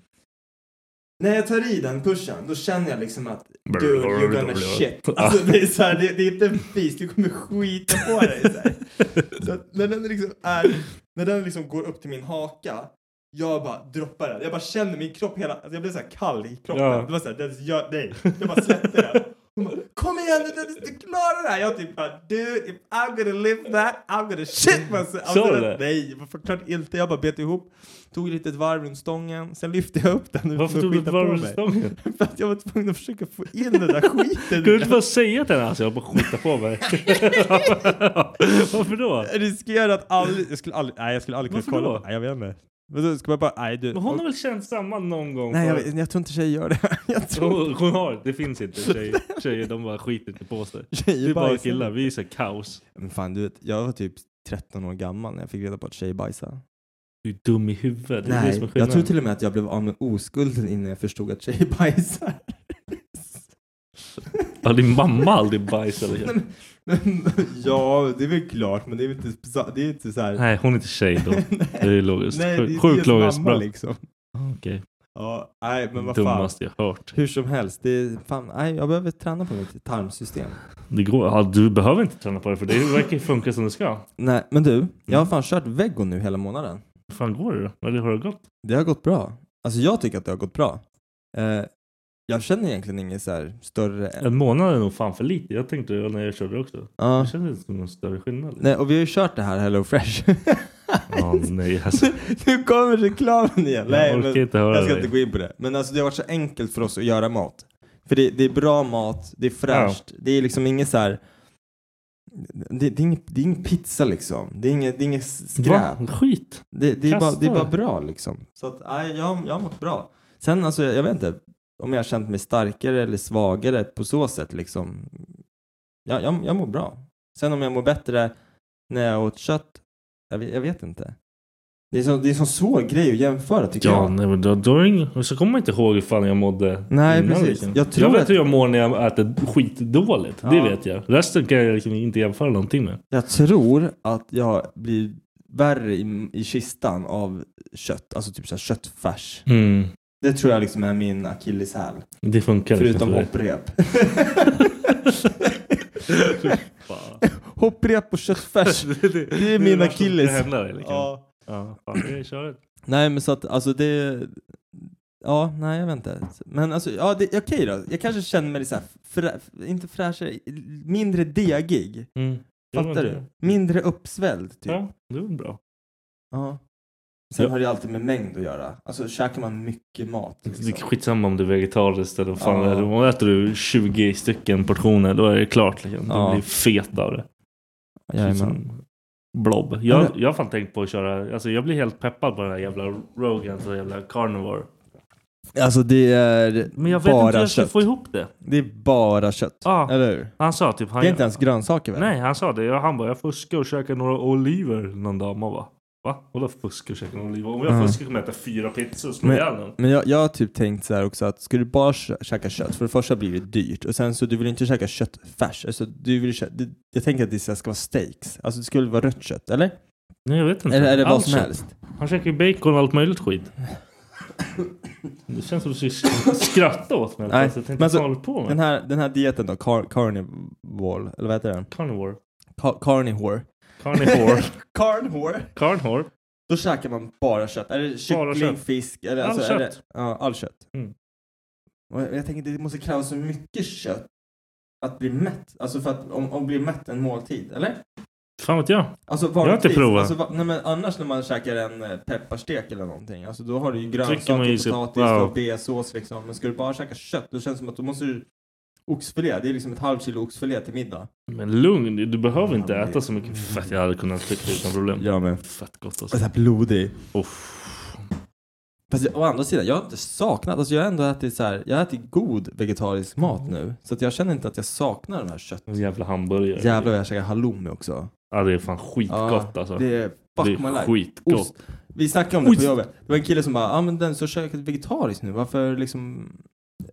Speaker 5: När jag tar i den pushen, då känner jag liksom att Dude, you're gonna shit. Alltså det är så här, det, det är inte en fis, du kommer skita på dig. Så här. Så att när den liksom är, när den liksom går upp till min haka, jag bara droppar den. Jag bara känner min kropp hela, alltså jag blev så här kall i kroppen.
Speaker 1: Ja.
Speaker 5: Det var så här, den, jag, nej. Jag bara släppte den. Hon bara, kom igen nu, Dennis, du klarar det här! Jag typ bara, dude, if I'm gonna live that, I'm gonna shit myself!
Speaker 1: Sa
Speaker 5: den-
Speaker 1: du det?
Speaker 5: Nej, förklart inte. Jag bara bet ihop, tog ett litet varv runt stången, sen lyfte jag upp den.
Speaker 1: Varför tog du ett
Speaker 5: skita på
Speaker 1: varv
Speaker 5: mig.
Speaker 1: runt stången?
Speaker 5: För att jag var tvungen att försöka få in den där skiten.
Speaker 1: Kan du inte bara säga till henne alltså, jag bara skitar på mig? Varför då?
Speaker 5: Jag riskerar att aldrig, jag skulle aldrig, nej jag skulle aldrig kunna
Speaker 1: Varför
Speaker 5: kolla.
Speaker 1: då?
Speaker 5: på- Nej jag vet inte. Men då ska man bara, nej du.
Speaker 1: Men hon har väl känt samma någon gång?
Speaker 5: Nej jag,
Speaker 1: förut?
Speaker 5: vet- jag tror inte tjejer gör det. Jag tror
Speaker 1: hon, hon har, det finns inte tjejer. Tjejer de bara skiter inte på sig. Det
Speaker 5: tjejer
Speaker 1: är bara
Speaker 5: bajsar.
Speaker 1: killar, vi är så här kaos.
Speaker 5: Men fan du vet, jag var typ 13 år gammal när jag fick reda på att tjejer bajsar.
Speaker 1: Du är dum i huvudet, det är det som är
Speaker 5: Nej, jag tror
Speaker 1: skillnaden.
Speaker 5: till och med att jag blev av med oskulden innan jag förstod att tjejer bajsar.
Speaker 1: Har din mamma aldrig bajs eller?
Speaker 5: Nej, ja, det är väl klart, men det är väl inte, det är inte så här.
Speaker 1: Nej, hon är inte tjej då. Det är logiskt.
Speaker 5: Nej, det är
Speaker 1: Sjukt
Speaker 5: deras
Speaker 1: logiskt.
Speaker 5: mamma
Speaker 1: Bra. Ah,
Speaker 5: liksom.
Speaker 1: Okej.
Speaker 5: Ja, nej, men vad fan.
Speaker 1: Dummaste jag hört.
Speaker 5: Hur som helst, det är fan, nej, jag behöver träna på mitt tarmsystem.
Speaker 1: Det går. Ja, du behöver inte träna på det för det verkar ju funka som det ska.
Speaker 5: Nej, men du, jag
Speaker 1: Mm.
Speaker 5: har fan kört vego nu hela månaden.
Speaker 1: Hur fan går det då? Eller har det gått?
Speaker 5: Det har gått bra. Alltså jag tycker att det har gått bra. Eh, jag känner egentligen ingen så här större...
Speaker 1: En månad är nog fan för lite. Jag tänkte det när jag körde också.
Speaker 5: Ja.
Speaker 1: Det kändes inte som någon större skillnad.
Speaker 5: Nej, och vi har ju kört det här Hello Fresh.
Speaker 1: Ja, nej alltså.
Speaker 5: nu kommer reklamen igen. Nej,
Speaker 1: jag
Speaker 5: men
Speaker 1: orkar inte höra
Speaker 5: jag ska
Speaker 1: dig.
Speaker 5: inte gå in på det. Men alltså det har varit så enkelt för oss att göra mat. För det, det är bra mat, det är fräscht, det är liksom inget så här... Det, det, är inget, det är ingen pizza liksom. Det är inget, det är inget skräp.
Speaker 1: Va? Skit.
Speaker 5: Det, det, är bara, det är
Speaker 1: Kasta.
Speaker 5: bara bra liksom. Så att, nej, jag, har- jag har mått bra. Sen alltså, jag, jag vet inte om jag har känt mig starkare eller svagare på så sätt liksom. Jag, jag, jag mår bra. Sen om jag mår bättre när jag åt kött, jag vet, jag vet inte. Det är, så, det är en sån svår grej att jämföra tycker
Speaker 1: Ja,
Speaker 5: jag.
Speaker 1: nej, men då, då är det ingen, och så kommer man inte ihåg hur fan jag mådde
Speaker 5: Nej,
Speaker 1: innan,
Speaker 5: precis.
Speaker 1: liksom.
Speaker 5: Jag tror
Speaker 1: vet
Speaker 5: att-
Speaker 1: hur jag mår när jag äter skitdåligt. Det
Speaker 5: Ja.
Speaker 1: vet jag. Resten kan jag liksom inte jämföra någonting med.
Speaker 5: Jag tror att jag blir värre i, i kistan av kött, alltså typ så här köttfärs.
Speaker 1: Mm.
Speaker 5: Det tror jag liksom är min akilleshäl.
Speaker 1: Det funkar
Speaker 5: Förutom
Speaker 1: liksom.
Speaker 5: hopprep.
Speaker 1: Fan.
Speaker 5: hopprep och köttfärs. Det är min
Speaker 1: värsta som kan
Speaker 5: akilles.
Speaker 1: hända dig, liksom.
Speaker 5: Ja.
Speaker 1: Ja, fan, det är köret.
Speaker 5: Nej men så att alltså det... Ja, nej jag vet inte. Men alltså, ja det, okej då. Jag kanske känner mig så här, frä, inte fräschare, mindre degig.
Speaker 1: Mm. Jo, men
Speaker 5: Fattar
Speaker 1: det-
Speaker 5: du? Mindre uppsvälld typ. Ja.
Speaker 1: Ja, det var bra.
Speaker 5: Sen
Speaker 1: Ja.
Speaker 5: har det ju alltid med mängd att göra. Alltså käkar man mycket mat
Speaker 1: Det är
Speaker 5: liksom.
Speaker 1: skitsamma om du är vegetariskt eller vad fan
Speaker 5: Ja.
Speaker 1: det är. Om Äter du 20 stycken portioner då är det klart. Liksom. Du
Speaker 5: Ja.
Speaker 1: blir fet av det. liksom.
Speaker 5: Jajamän.
Speaker 1: Som blob. Jag,
Speaker 5: Ja,
Speaker 1: jag har fan tänkt på att köra, alltså jag blir helt peppad på den här jävla Rogan och jävla Carnivore.
Speaker 5: Alltså det är
Speaker 1: Men jag vet
Speaker 5: bara
Speaker 1: inte hur jag ska
Speaker 5: kött.
Speaker 1: få ihop det.
Speaker 5: Det är bara kött.
Speaker 1: Ja.
Speaker 5: Eller hur?
Speaker 1: Han sa typ, han,
Speaker 5: Det är inte ens grönsaker väl?
Speaker 1: nej han sa det, Jag- han bara jag fuskar och käkar några oliver någon dag. Man bara va? Vadå fuskar och käkar några oliver? Om jag
Speaker 5: Mm.
Speaker 1: fuskar kommer jag äta fyra pizzor och slå
Speaker 5: Men-
Speaker 1: ihjäl någon.
Speaker 5: Men jag, jag har typ tänkt så här också att ska du bara kä- käka kött, för det första blir det dyrt och sen så du vill inte käka köttfärs. Alltså, du vill kä- du, jag tänker att det så här ska vara steaks. Alltså det skulle vara rött kött, eller?
Speaker 1: Nej jag vet inte.
Speaker 5: Eller är det vad
Speaker 1: Mm. Allt
Speaker 5: som
Speaker 1: kött.
Speaker 5: helst?
Speaker 1: Han käkar ju bacon och allt möjligt skit. Det känns som att du ska skratta åt mig.
Speaker 5: Nej,
Speaker 1: alltså, jag tänkte,
Speaker 5: men
Speaker 1: vad
Speaker 5: alltså,
Speaker 1: håller du på med?
Speaker 5: Den här, den här dieten då, car, carnivore, eller vad heter den?
Speaker 1: Carnivore.
Speaker 5: Ca, carnivore.
Speaker 1: Carnivore.
Speaker 5: carnivore.
Speaker 1: Carnivore.
Speaker 5: Då käkar man bara kött. Är det kyckling,
Speaker 1: kött.
Speaker 5: fisk? Eller,
Speaker 1: All
Speaker 5: alltså, Är det,
Speaker 1: kött.
Speaker 5: ja, all kött.
Speaker 1: Mm.
Speaker 5: Och jag, jag tänker att det måste krävas så mycket kött att bli mätt. Alltså för att om, om bli mätt en måltid, eller?
Speaker 1: Fan vet jag.
Speaker 5: Alltså
Speaker 1: har
Speaker 5: vanligtvis,
Speaker 1: inte provat.
Speaker 5: Alltså, va- nej, men annars när man käkar en eh, pepparstek eller någonting, alltså då har du ju
Speaker 1: man ju
Speaker 5: grönsaker,
Speaker 1: sig-
Speaker 5: potatis
Speaker 1: ja.
Speaker 5: och B-sås liksom. Men ska du bara käka kött, då känns det som att då måste du oxfilé, det är liksom ett halvt kilo oxfilé till middag.
Speaker 1: Men lugn, du behöver inte
Speaker 5: Ja, men det-
Speaker 1: äta så mycket fett. Jag hade kunnat tycka utan problem.
Speaker 5: Jag med.
Speaker 1: Fett gott alltså.
Speaker 5: Alltså blodig.
Speaker 1: Uff.
Speaker 5: Fast jag- å andra sidan, jag har inte saknat, alltså jag har ändå ätit så här, jag har ätit god vegetarisk mat nu. Så att jag känner inte att jag saknar den här kött.
Speaker 1: En jävla hamburgare.
Speaker 5: Jävlar vad jag käkar halloumi också.
Speaker 1: Ja det är fan skitgott alltså.
Speaker 5: Det är fuck
Speaker 1: Det
Speaker 5: my
Speaker 1: är
Speaker 5: life.
Speaker 1: skitgott.
Speaker 5: Ost. Vi snackade om det
Speaker 1: Ost.
Speaker 5: på jobbet. Det var en kille som bara, ja ah, men den som käkat vegetariskt nu, varför liksom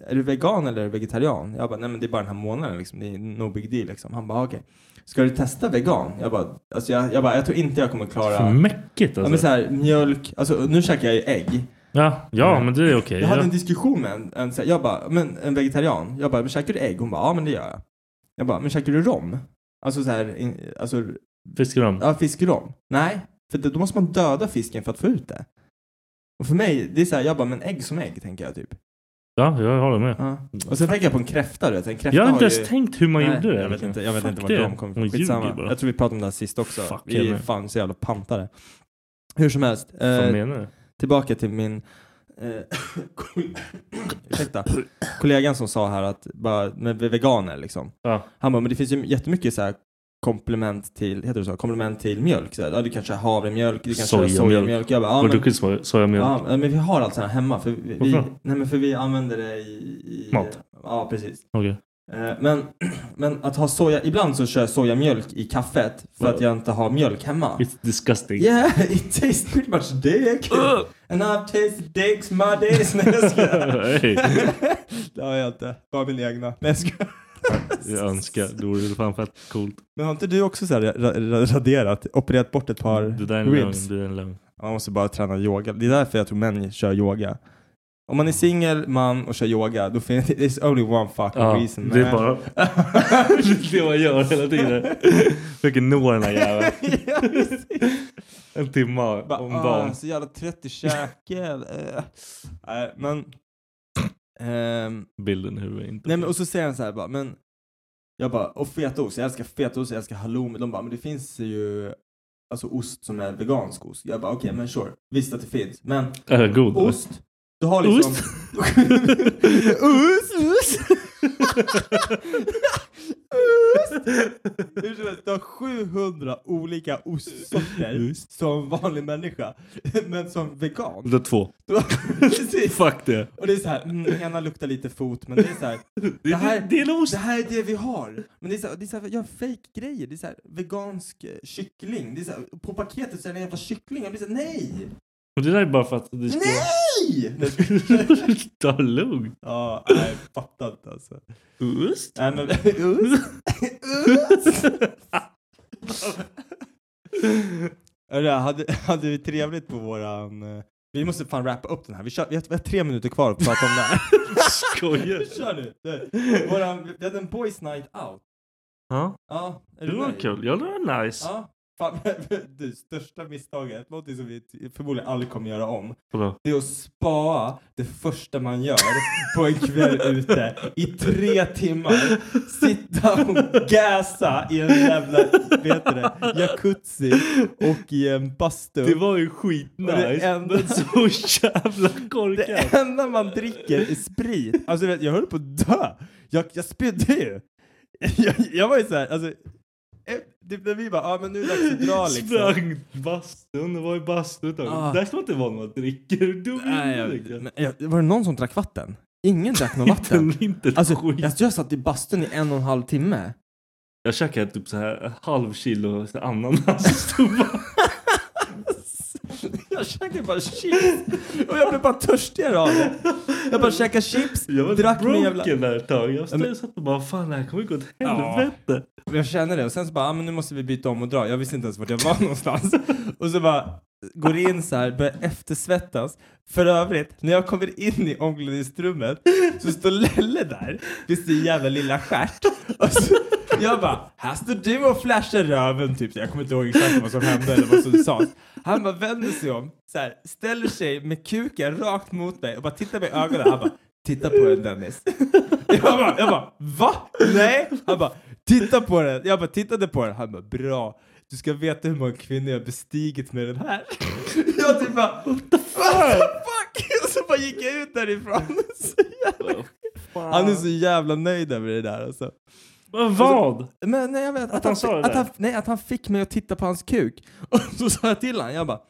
Speaker 5: är du vegan eller är du vegetarian? Jag bara, nej men det är bara den här månaden liksom, det är no big deal liksom. Han bara, ah, okej. Ska du testa vegan? Jag bara, alltså jag, jag, bara, jag tror inte jag kommer klara...
Speaker 1: För mäckigt
Speaker 5: Ja men
Speaker 1: alltså. Ja,
Speaker 5: såhär mjölk, alltså nu käkar jag ju ägg.
Speaker 1: ja, men det är okej.
Speaker 5: Jag hade en
Speaker 1: Ja.
Speaker 5: diskussion med en, en, så här- jag bara, men en vegetarian. Jag bara, men käkar du ägg? Hon bara, ja men det gör jag. Jag bara, men käkar du rom? Alltså såhär, in- alltså
Speaker 1: Fiskrom.
Speaker 5: Ja, fiskrom. Nej, för då då måste man döda fisken för att få ut det. Och för mig, det är så här, jag bara, men ägg som ägg, tänker jag typ.
Speaker 1: Ja, jag håller med.
Speaker 5: Ja. Och sen tänker jag på en kräfta, du vet. En kräfta
Speaker 1: Jag har inte
Speaker 5: ju-
Speaker 1: ens tänkt hur man
Speaker 5: Nej,
Speaker 1: gjorde det.
Speaker 5: Jag vet
Speaker 1: liksom.
Speaker 5: inte, jag vet
Speaker 1: Fuck
Speaker 5: inte vart
Speaker 1: det.
Speaker 5: de kommer
Speaker 1: Hon
Speaker 5: ifrån.
Speaker 1: ljuger
Speaker 5: Skitsamma.
Speaker 1: bara.
Speaker 5: Jag tror vi pratade om det här sist också.
Speaker 1: Fuck
Speaker 5: vi är
Speaker 1: henne.
Speaker 5: fan så jävla pantade. Hur som helst,
Speaker 1: Vad
Speaker 5: eh,
Speaker 1: menar du?
Speaker 5: tillbaka till min eh, kol- ursäkta, kollegan som sa här att bara, med veganer liksom.
Speaker 1: Ja.
Speaker 5: Han bara, men det finns ju jättemycket så här komplement till, heter det så, komplement till mjölk. Så här, ja, du kanske har havremjölk, du kanske har
Speaker 1: Sojamjölk.
Speaker 5: sojamjölk. Jag bara, ja,
Speaker 1: Har du
Speaker 5: men,
Speaker 1: druckit so- sojamjölk?
Speaker 5: ja, men vi har allt sånt här hemma. För vi, vi,
Speaker 1: Varför?
Speaker 5: nej, men för vi använder det i... i
Speaker 1: Mat.
Speaker 5: Ja, precis.
Speaker 1: Okej.
Speaker 5: Eh, Men, men att ha soja, ibland så kör jag sojamjölk i kaffet för att jag inte har mjölk hemma.
Speaker 1: It's disgusting.
Speaker 5: Yeah, it tastes pretty much dick. And I've tasted dicks my days. Nej jag skojar.
Speaker 1: Hey.
Speaker 5: Det har jag inte. Bara min egna. Nej jag skojar.
Speaker 1: Jag önskar. Det vore fan fett coolt.
Speaker 5: Men har inte du också så här ra- ra- raderat, opererat bort ett par
Speaker 1: Det där är en lögn.
Speaker 5: ribs?
Speaker 1: Det där är en lögn.
Speaker 5: Man måste bara träna yoga. Det är därför jag tror män kör yoga. Om man är singel, man och kör yoga, då finns det it's only one fucking
Speaker 1: Ja,
Speaker 5: reason.
Speaker 1: det är
Speaker 5: man.
Speaker 1: bara det man gör hela tiden. Försöker nå den här jäveln.
Speaker 5: Ja, visst.
Speaker 1: En timme om
Speaker 5: Bara, ah,
Speaker 1: dagen.
Speaker 5: Så jävla trött i käken. Eh. Nej, men... ehm,
Speaker 1: Bilden i huvudet är inte
Speaker 5: Nej men
Speaker 1: okej.
Speaker 5: och så säger han så här bara, men jag bara, och fetaost, jag älskar fetaost, jag älskar halloumi. De bara, men det finns ju alltså ost som är vegansk ost. Jag bara, okej men sure, visst att det finns, men
Speaker 1: Är den god? eller?
Speaker 5: ost, du har liksom...
Speaker 1: Ost?
Speaker 5: ost, ost! ost! Hur som helst, du har 700 olika ostsorter som vanlig människa, men som vegan.
Speaker 1: Det är två.
Speaker 5: Du har- Precis.
Speaker 1: Fuck det.
Speaker 5: Och det är så här, mm, ena luktar lite fot, men det är så här,
Speaker 1: Det,
Speaker 5: här-
Speaker 1: det, det är en ost.
Speaker 5: det här är det vi har. Men det är så här, det är så här jag fake grejer. Det är så här, vegansk eh, kyckling. Det är så här, på paketet så är det en jävla kyckling. Jag blir så här, nej!
Speaker 1: Och det där är bara för att du ska...
Speaker 5: Nej!
Speaker 1: Ta det lugnt.
Speaker 5: ja, nej, fattar inte alltså.
Speaker 1: Ost?
Speaker 5: Nej men, us! us! Hörru, hade, hade vi trevligt på våran... eh, Vi måste fan wrappa upp den här. Vi, kör, vi, har, vi har tre minuter kvar att prata om det här.
Speaker 1: Skojar
Speaker 5: Kör nu! Du, Våran, vi hade en boys night out.
Speaker 1: Ja,
Speaker 5: Ja, är
Speaker 1: det
Speaker 5: du
Speaker 1: var
Speaker 5: nöjd?
Speaker 1: kul. Ja, det var nice.
Speaker 5: Ja, fan, du, största misstaget, någonting som vi t- förmodligen aldrig kommer göra om,
Speaker 1: Vadå?
Speaker 5: det är att spaa det första man gör på en kväll ute i tre timmar, sitta och gasa i en jävla, vet du det, jacuzzi och i en bastu.
Speaker 1: Det var ju skitnice.
Speaker 5: Och det enda-
Speaker 1: Men så jävla korkat.
Speaker 5: Det enda man dricker är sprit. Alltså du vet, jag höll på att dö. Jag, jag spydde ju. Jag, jag var ju såhär, alltså, eh, typ när vi bara, ja ah, men nu är det dags att dra liksom.
Speaker 1: Sprang bastun, det var ju bastu ett tag.
Speaker 5: Ah.
Speaker 1: Där ska man inte vara när man dricker. Du dog
Speaker 5: Nej,
Speaker 1: ju
Speaker 5: jag,
Speaker 1: liksom.
Speaker 5: men, jag, var det någon som drack vatten? Ingen drack något vatten.
Speaker 1: Inte, inte ett
Speaker 5: Alltså,
Speaker 1: skit.
Speaker 5: jag, jag satt i bastun i en och en halv timme.
Speaker 1: Jag käkade typ så här en halv kilo så här ananas. Det var-
Speaker 5: Jag käkade bara chips. Och jag blev bara törstigare av det. Jag bara käkade chips,
Speaker 1: jag var
Speaker 5: drack min
Speaker 1: broken
Speaker 5: jävla...
Speaker 1: där ett tag. Jag
Speaker 5: men-
Speaker 1: stod- satt och bara fan det här kommer gå åt
Speaker 5: Ja.
Speaker 1: helvete.
Speaker 5: Jag kände det och sen så bara, ah, men nu måste vi byta om och dra. Jag visste inte ens vart jag var någonstans. Och så bara går in så här, börjar eftersvettas. För övrigt, när jag kommer in i omklädningsrummet så står Lelle där vid sin jävla lilla stjärt. Och så, jag bara, här står du och flashar röven typ. Jag kommer inte ihåg exakt vad som hände eller vad som sades. Han bara vänder sig om, så här, ställer sig med kuken rakt mot mig och bara tittar mig i ögonen. Han bara, titta på den Dennis. Jag bara, jag bara va? Nej? Han bara titta på den. Jag bara tittade på den. Han bara bra. Du ska veta hur många kvinnor jag bestigit med den här. Jag typ bara what the fuck? Och så bara gick jag ut därifrån. Så jävla... Han är så jävla nöjd över det där alltså.
Speaker 1: Men vad?
Speaker 5: Men nej, jag vet att,
Speaker 1: han sa det
Speaker 5: att
Speaker 1: där?
Speaker 5: han, nej, att han fick mig att titta på hans kuk. Och så sa jag till honom, jag bara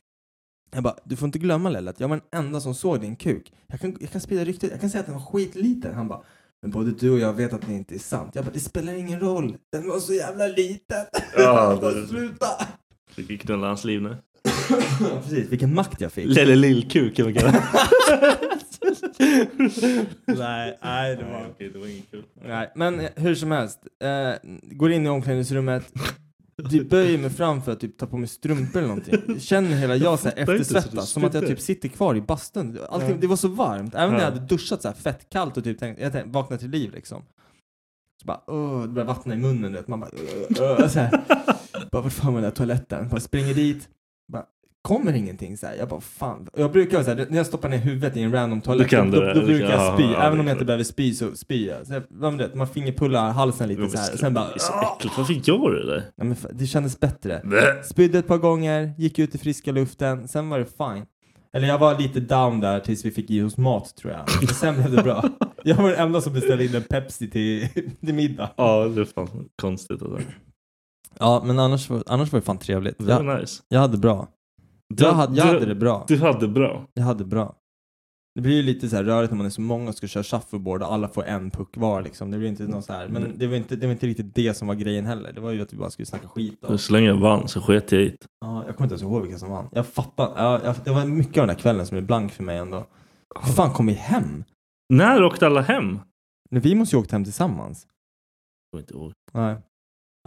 Speaker 5: jag bara, du får inte glömma Lelle att jag var den enda som såg din kuk. Jag kan, jag kan sprida ryktet, jag kan säga att den var skitliten. Han bara, men både du och jag vet att det inte är sant. Jag bara, det spelar ingen roll. Den var så jävla liten.
Speaker 1: Ja,
Speaker 5: Jag bara,
Speaker 1: det-
Speaker 5: Sluta!
Speaker 1: Fick ju knulla hans liv nu.
Speaker 5: Ja, precis, vilken makt jag fick.
Speaker 1: Lelle Lillkuk kan man kalla det.
Speaker 5: nej, nej, det
Speaker 1: Nej, Okej, det var inget kul.
Speaker 5: Nej, men eh, hur som helst. Eh, går in i omklädningsrummet. Du böjer mig fram för att typ ta på mig strumpor eller någonting. Känner hela jag så här
Speaker 1: fattar inte så att du
Speaker 5: eftersvettas. Som att jag
Speaker 1: spydde.
Speaker 5: typ sitter kvar i bastun. Allting,
Speaker 1: Ja.
Speaker 5: Det var så varmt. Även när jag
Speaker 1: Ja.
Speaker 5: hade duschat så här fett kallt och typ tänkt, jag tänkte, vakna till liv liksom. Så bara, åh, det börjar vattna i munnen du vet. Man bara, åh, åh, så här. bara, vart fan var den där toaletten? Bara springer dit. Bara, kommer ingenting så här. Jag bara, fan. Och Jag brukar vara så här, när jag stoppar ner huvudet i en random toalett,
Speaker 1: Du kan
Speaker 5: då,
Speaker 1: det där.
Speaker 5: då, då
Speaker 1: Du
Speaker 5: brukar
Speaker 1: kan-
Speaker 5: jag spy.
Speaker 1: ja, ja,
Speaker 5: även om
Speaker 1: det
Speaker 5: jag
Speaker 1: kan
Speaker 5: inte behöver spy så spyr jag. Så jag man, vet, man fingerpullar halsen lite så här. Sen bara,
Speaker 1: Det är så äckligt. Varför gör du det?
Speaker 5: Nej, men fa- det kändes bättre. Spydde ett par gånger, gick ut i friska luften, sen var det fine. Eller jag var lite down där tills vi fick i oss mat tror jag. Men sen blev det bra. Jag var den enda som beställde in en Pepsi till, till middag.
Speaker 1: Ja, det är fan konstigt. Alltså.
Speaker 5: Ja, men annars, var- annars var det fan trevligt.
Speaker 1: Det var
Speaker 5: Jag,
Speaker 1: nice.
Speaker 5: jag hade bra. Jag hade, jag hade det bra.
Speaker 1: Du hade bra.
Speaker 5: Jag hade bra. Det blir ju lite så här rörigt när man är så många och ska köra shuffleboard och alla får en puck var liksom. Det blir inte någon så här. Men det var inte, det var inte riktigt det som var grejen heller. Det var ju att vi bara skulle snacka skit om.
Speaker 1: Så länge jag vann så sket jag i det.
Speaker 5: Ja, jag kommer inte ens ihåg vilka som vann. Jag fattar. Ja, jag, det var mycket av den där kvällen som blev blank för mig ändå. Hur fan kom vi hem?
Speaker 1: När åkte alla hem?
Speaker 5: Nej, vi måste ju ha åkt hem tillsammans.
Speaker 1: kommer inte ihåg.
Speaker 5: Nej.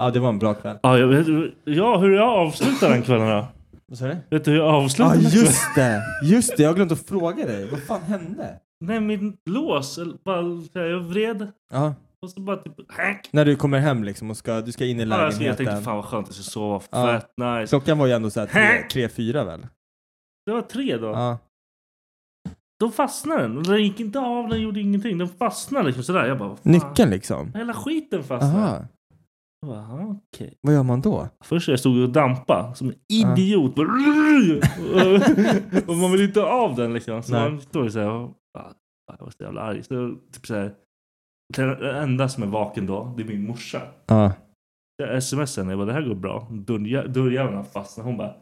Speaker 5: Ja, det var en bra kväll.
Speaker 1: Ja, jag vet, ja, hur jag avslutar den kvällen då?
Speaker 5: Vad sa du?
Speaker 1: Vet du hur jag
Speaker 5: Ja,
Speaker 1: avslutar
Speaker 5: ah,
Speaker 1: den kvällen?
Speaker 5: just det! Just det, jag har glömt att fråga dig. Vad fan hände?
Speaker 1: Nej, min lås. eller bara- Jag vred
Speaker 5: Ja,
Speaker 1: och så bara typ...
Speaker 5: när du kommer hem liksom och ska, du ska in i
Speaker 1: Ja, alltså, jag
Speaker 5: lägenheten.
Speaker 1: tänkte fan vad skönt jag ska sova.
Speaker 5: Ja.
Speaker 1: Fett nice.
Speaker 5: Klockan var ju ändå såhär tre, fyra väl?
Speaker 1: Det var tre då.
Speaker 5: Ja.
Speaker 1: Då fastnade den. Och Den gick inte av, den gjorde ingenting. Den fastnade liksom sådär. Jag bara, vad fan?
Speaker 5: Nyckeln liksom?
Speaker 1: Hela skiten fastnade.
Speaker 5: Aha.
Speaker 1: Jag bara, aha, okej.
Speaker 5: Vad gör man då?
Speaker 1: Först jag stod och dampa som en idiot. och man vill inte ha av den liksom. Så
Speaker 5: Nej.
Speaker 1: man står ju såhär. och, "Ah, Jag var så jävla arg. Så, typ så här, den enda som är vaken då, det är min morsa.
Speaker 5: Ja.
Speaker 1: Jag smsade henne. Jag bara, det här går bra. Dörrjä- Dörrjäveln har fastnat. Hon bara,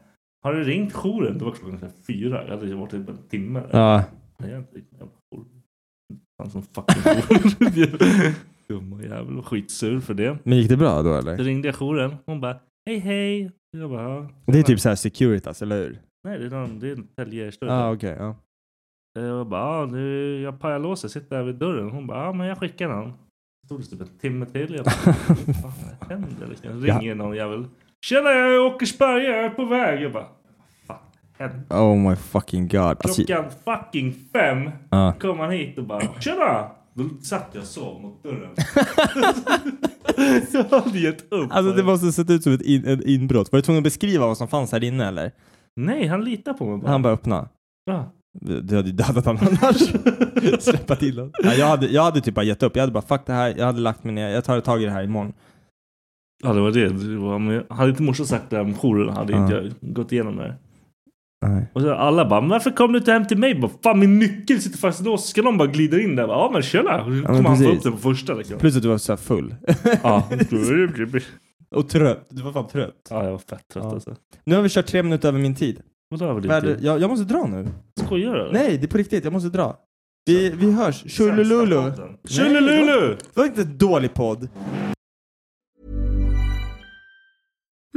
Speaker 1: har du ringt jouren? Det var klockan så här fyra. Jag hade varit typ en timme. där.
Speaker 5: Ja.
Speaker 1: Nej, jag har inte ringt någon jävla jour. Fan som fucking jour. Dumma jävel. Var Skitsur för det.
Speaker 5: Men gick det bra då
Speaker 1: Så
Speaker 5: eller?
Speaker 1: ringde jag jouren. Hon bara, hej hej. Jag bara, "Ja."
Speaker 5: Det är typ såhär Securitas, eller hur?
Speaker 1: Nej, det är någon, det är en
Speaker 5: Ja,
Speaker 1: täljestörre.
Speaker 5: ah, okej. ja.
Speaker 1: Jag bara, ah, nu, jag pajar låset, sitter där vid dörren. Hon bara, ah, men jag skickar den. Stod det typ en timme till. Jag bara, vad fan händer? Liksom.
Speaker 5: Ja.
Speaker 1: Ringer någon jävel. Tjena, jag är i Åkersberga, jag är på väg. Jag bara, vad fan händer?
Speaker 5: Oh my fucking god. Alltså,
Speaker 1: Klockan fucking fem
Speaker 5: Ja.
Speaker 1: kom han hit och bara, tjena! Då satt jag och sov mot dörren. jag hade gett upp.
Speaker 5: alltså det måste ha sett ut som ett, in, ett inbrott. Var du tvungen att beskriva vad som fanns här inne eller?
Speaker 1: Nej, han litar på mig bara.
Speaker 5: Han bara öppna.
Speaker 1: Ja.
Speaker 5: Du hade ju dödat honom annars. Släppa till honom. Ja, jag, hade, jag hade typ bara gett upp. Jag hade bara fuck det här. Jag hade lagt mig ner. Jag tar tag i det här imorgon.
Speaker 1: Ja, det var det. det var, men hade inte morsan sagt det här om jouren hade inte
Speaker 5: Ja.
Speaker 1: jag gått igenom det här.
Speaker 5: Nej.
Speaker 1: Och så alla bara, men varför kom du inte hem till mig? Bara, Fan min nyckel sitter fast då. Så ska någon bara glida in där. Bara, Ja men tjena. Då kommer han få
Speaker 5: precis.
Speaker 1: upp den på första liksom.
Speaker 5: Plus att du var så här full.
Speaker 1: Ja.
Speaker 5: Och trött. Du var fan trött.
Speaker 1: ja, eh, jag var fett trött
Speaker 5: Ja.
Speaker 1: alltså.
Speaker 5: Nu har vi kört tre minuter över min tid.
Speaker 1: Vadå över din
Speaker 5: Värde,
Speaker 1: tid?
Speaker 5: jag, jag måste dra nu.
Speaker 1: Skojar du?
Speaker 5: Nej, det är på riktigt. Jag måste dra. Vi, vi hörs. Tjolululu.
Speaker 1: Tjolululu!
Speaker 5: Det var inte en dålig podd.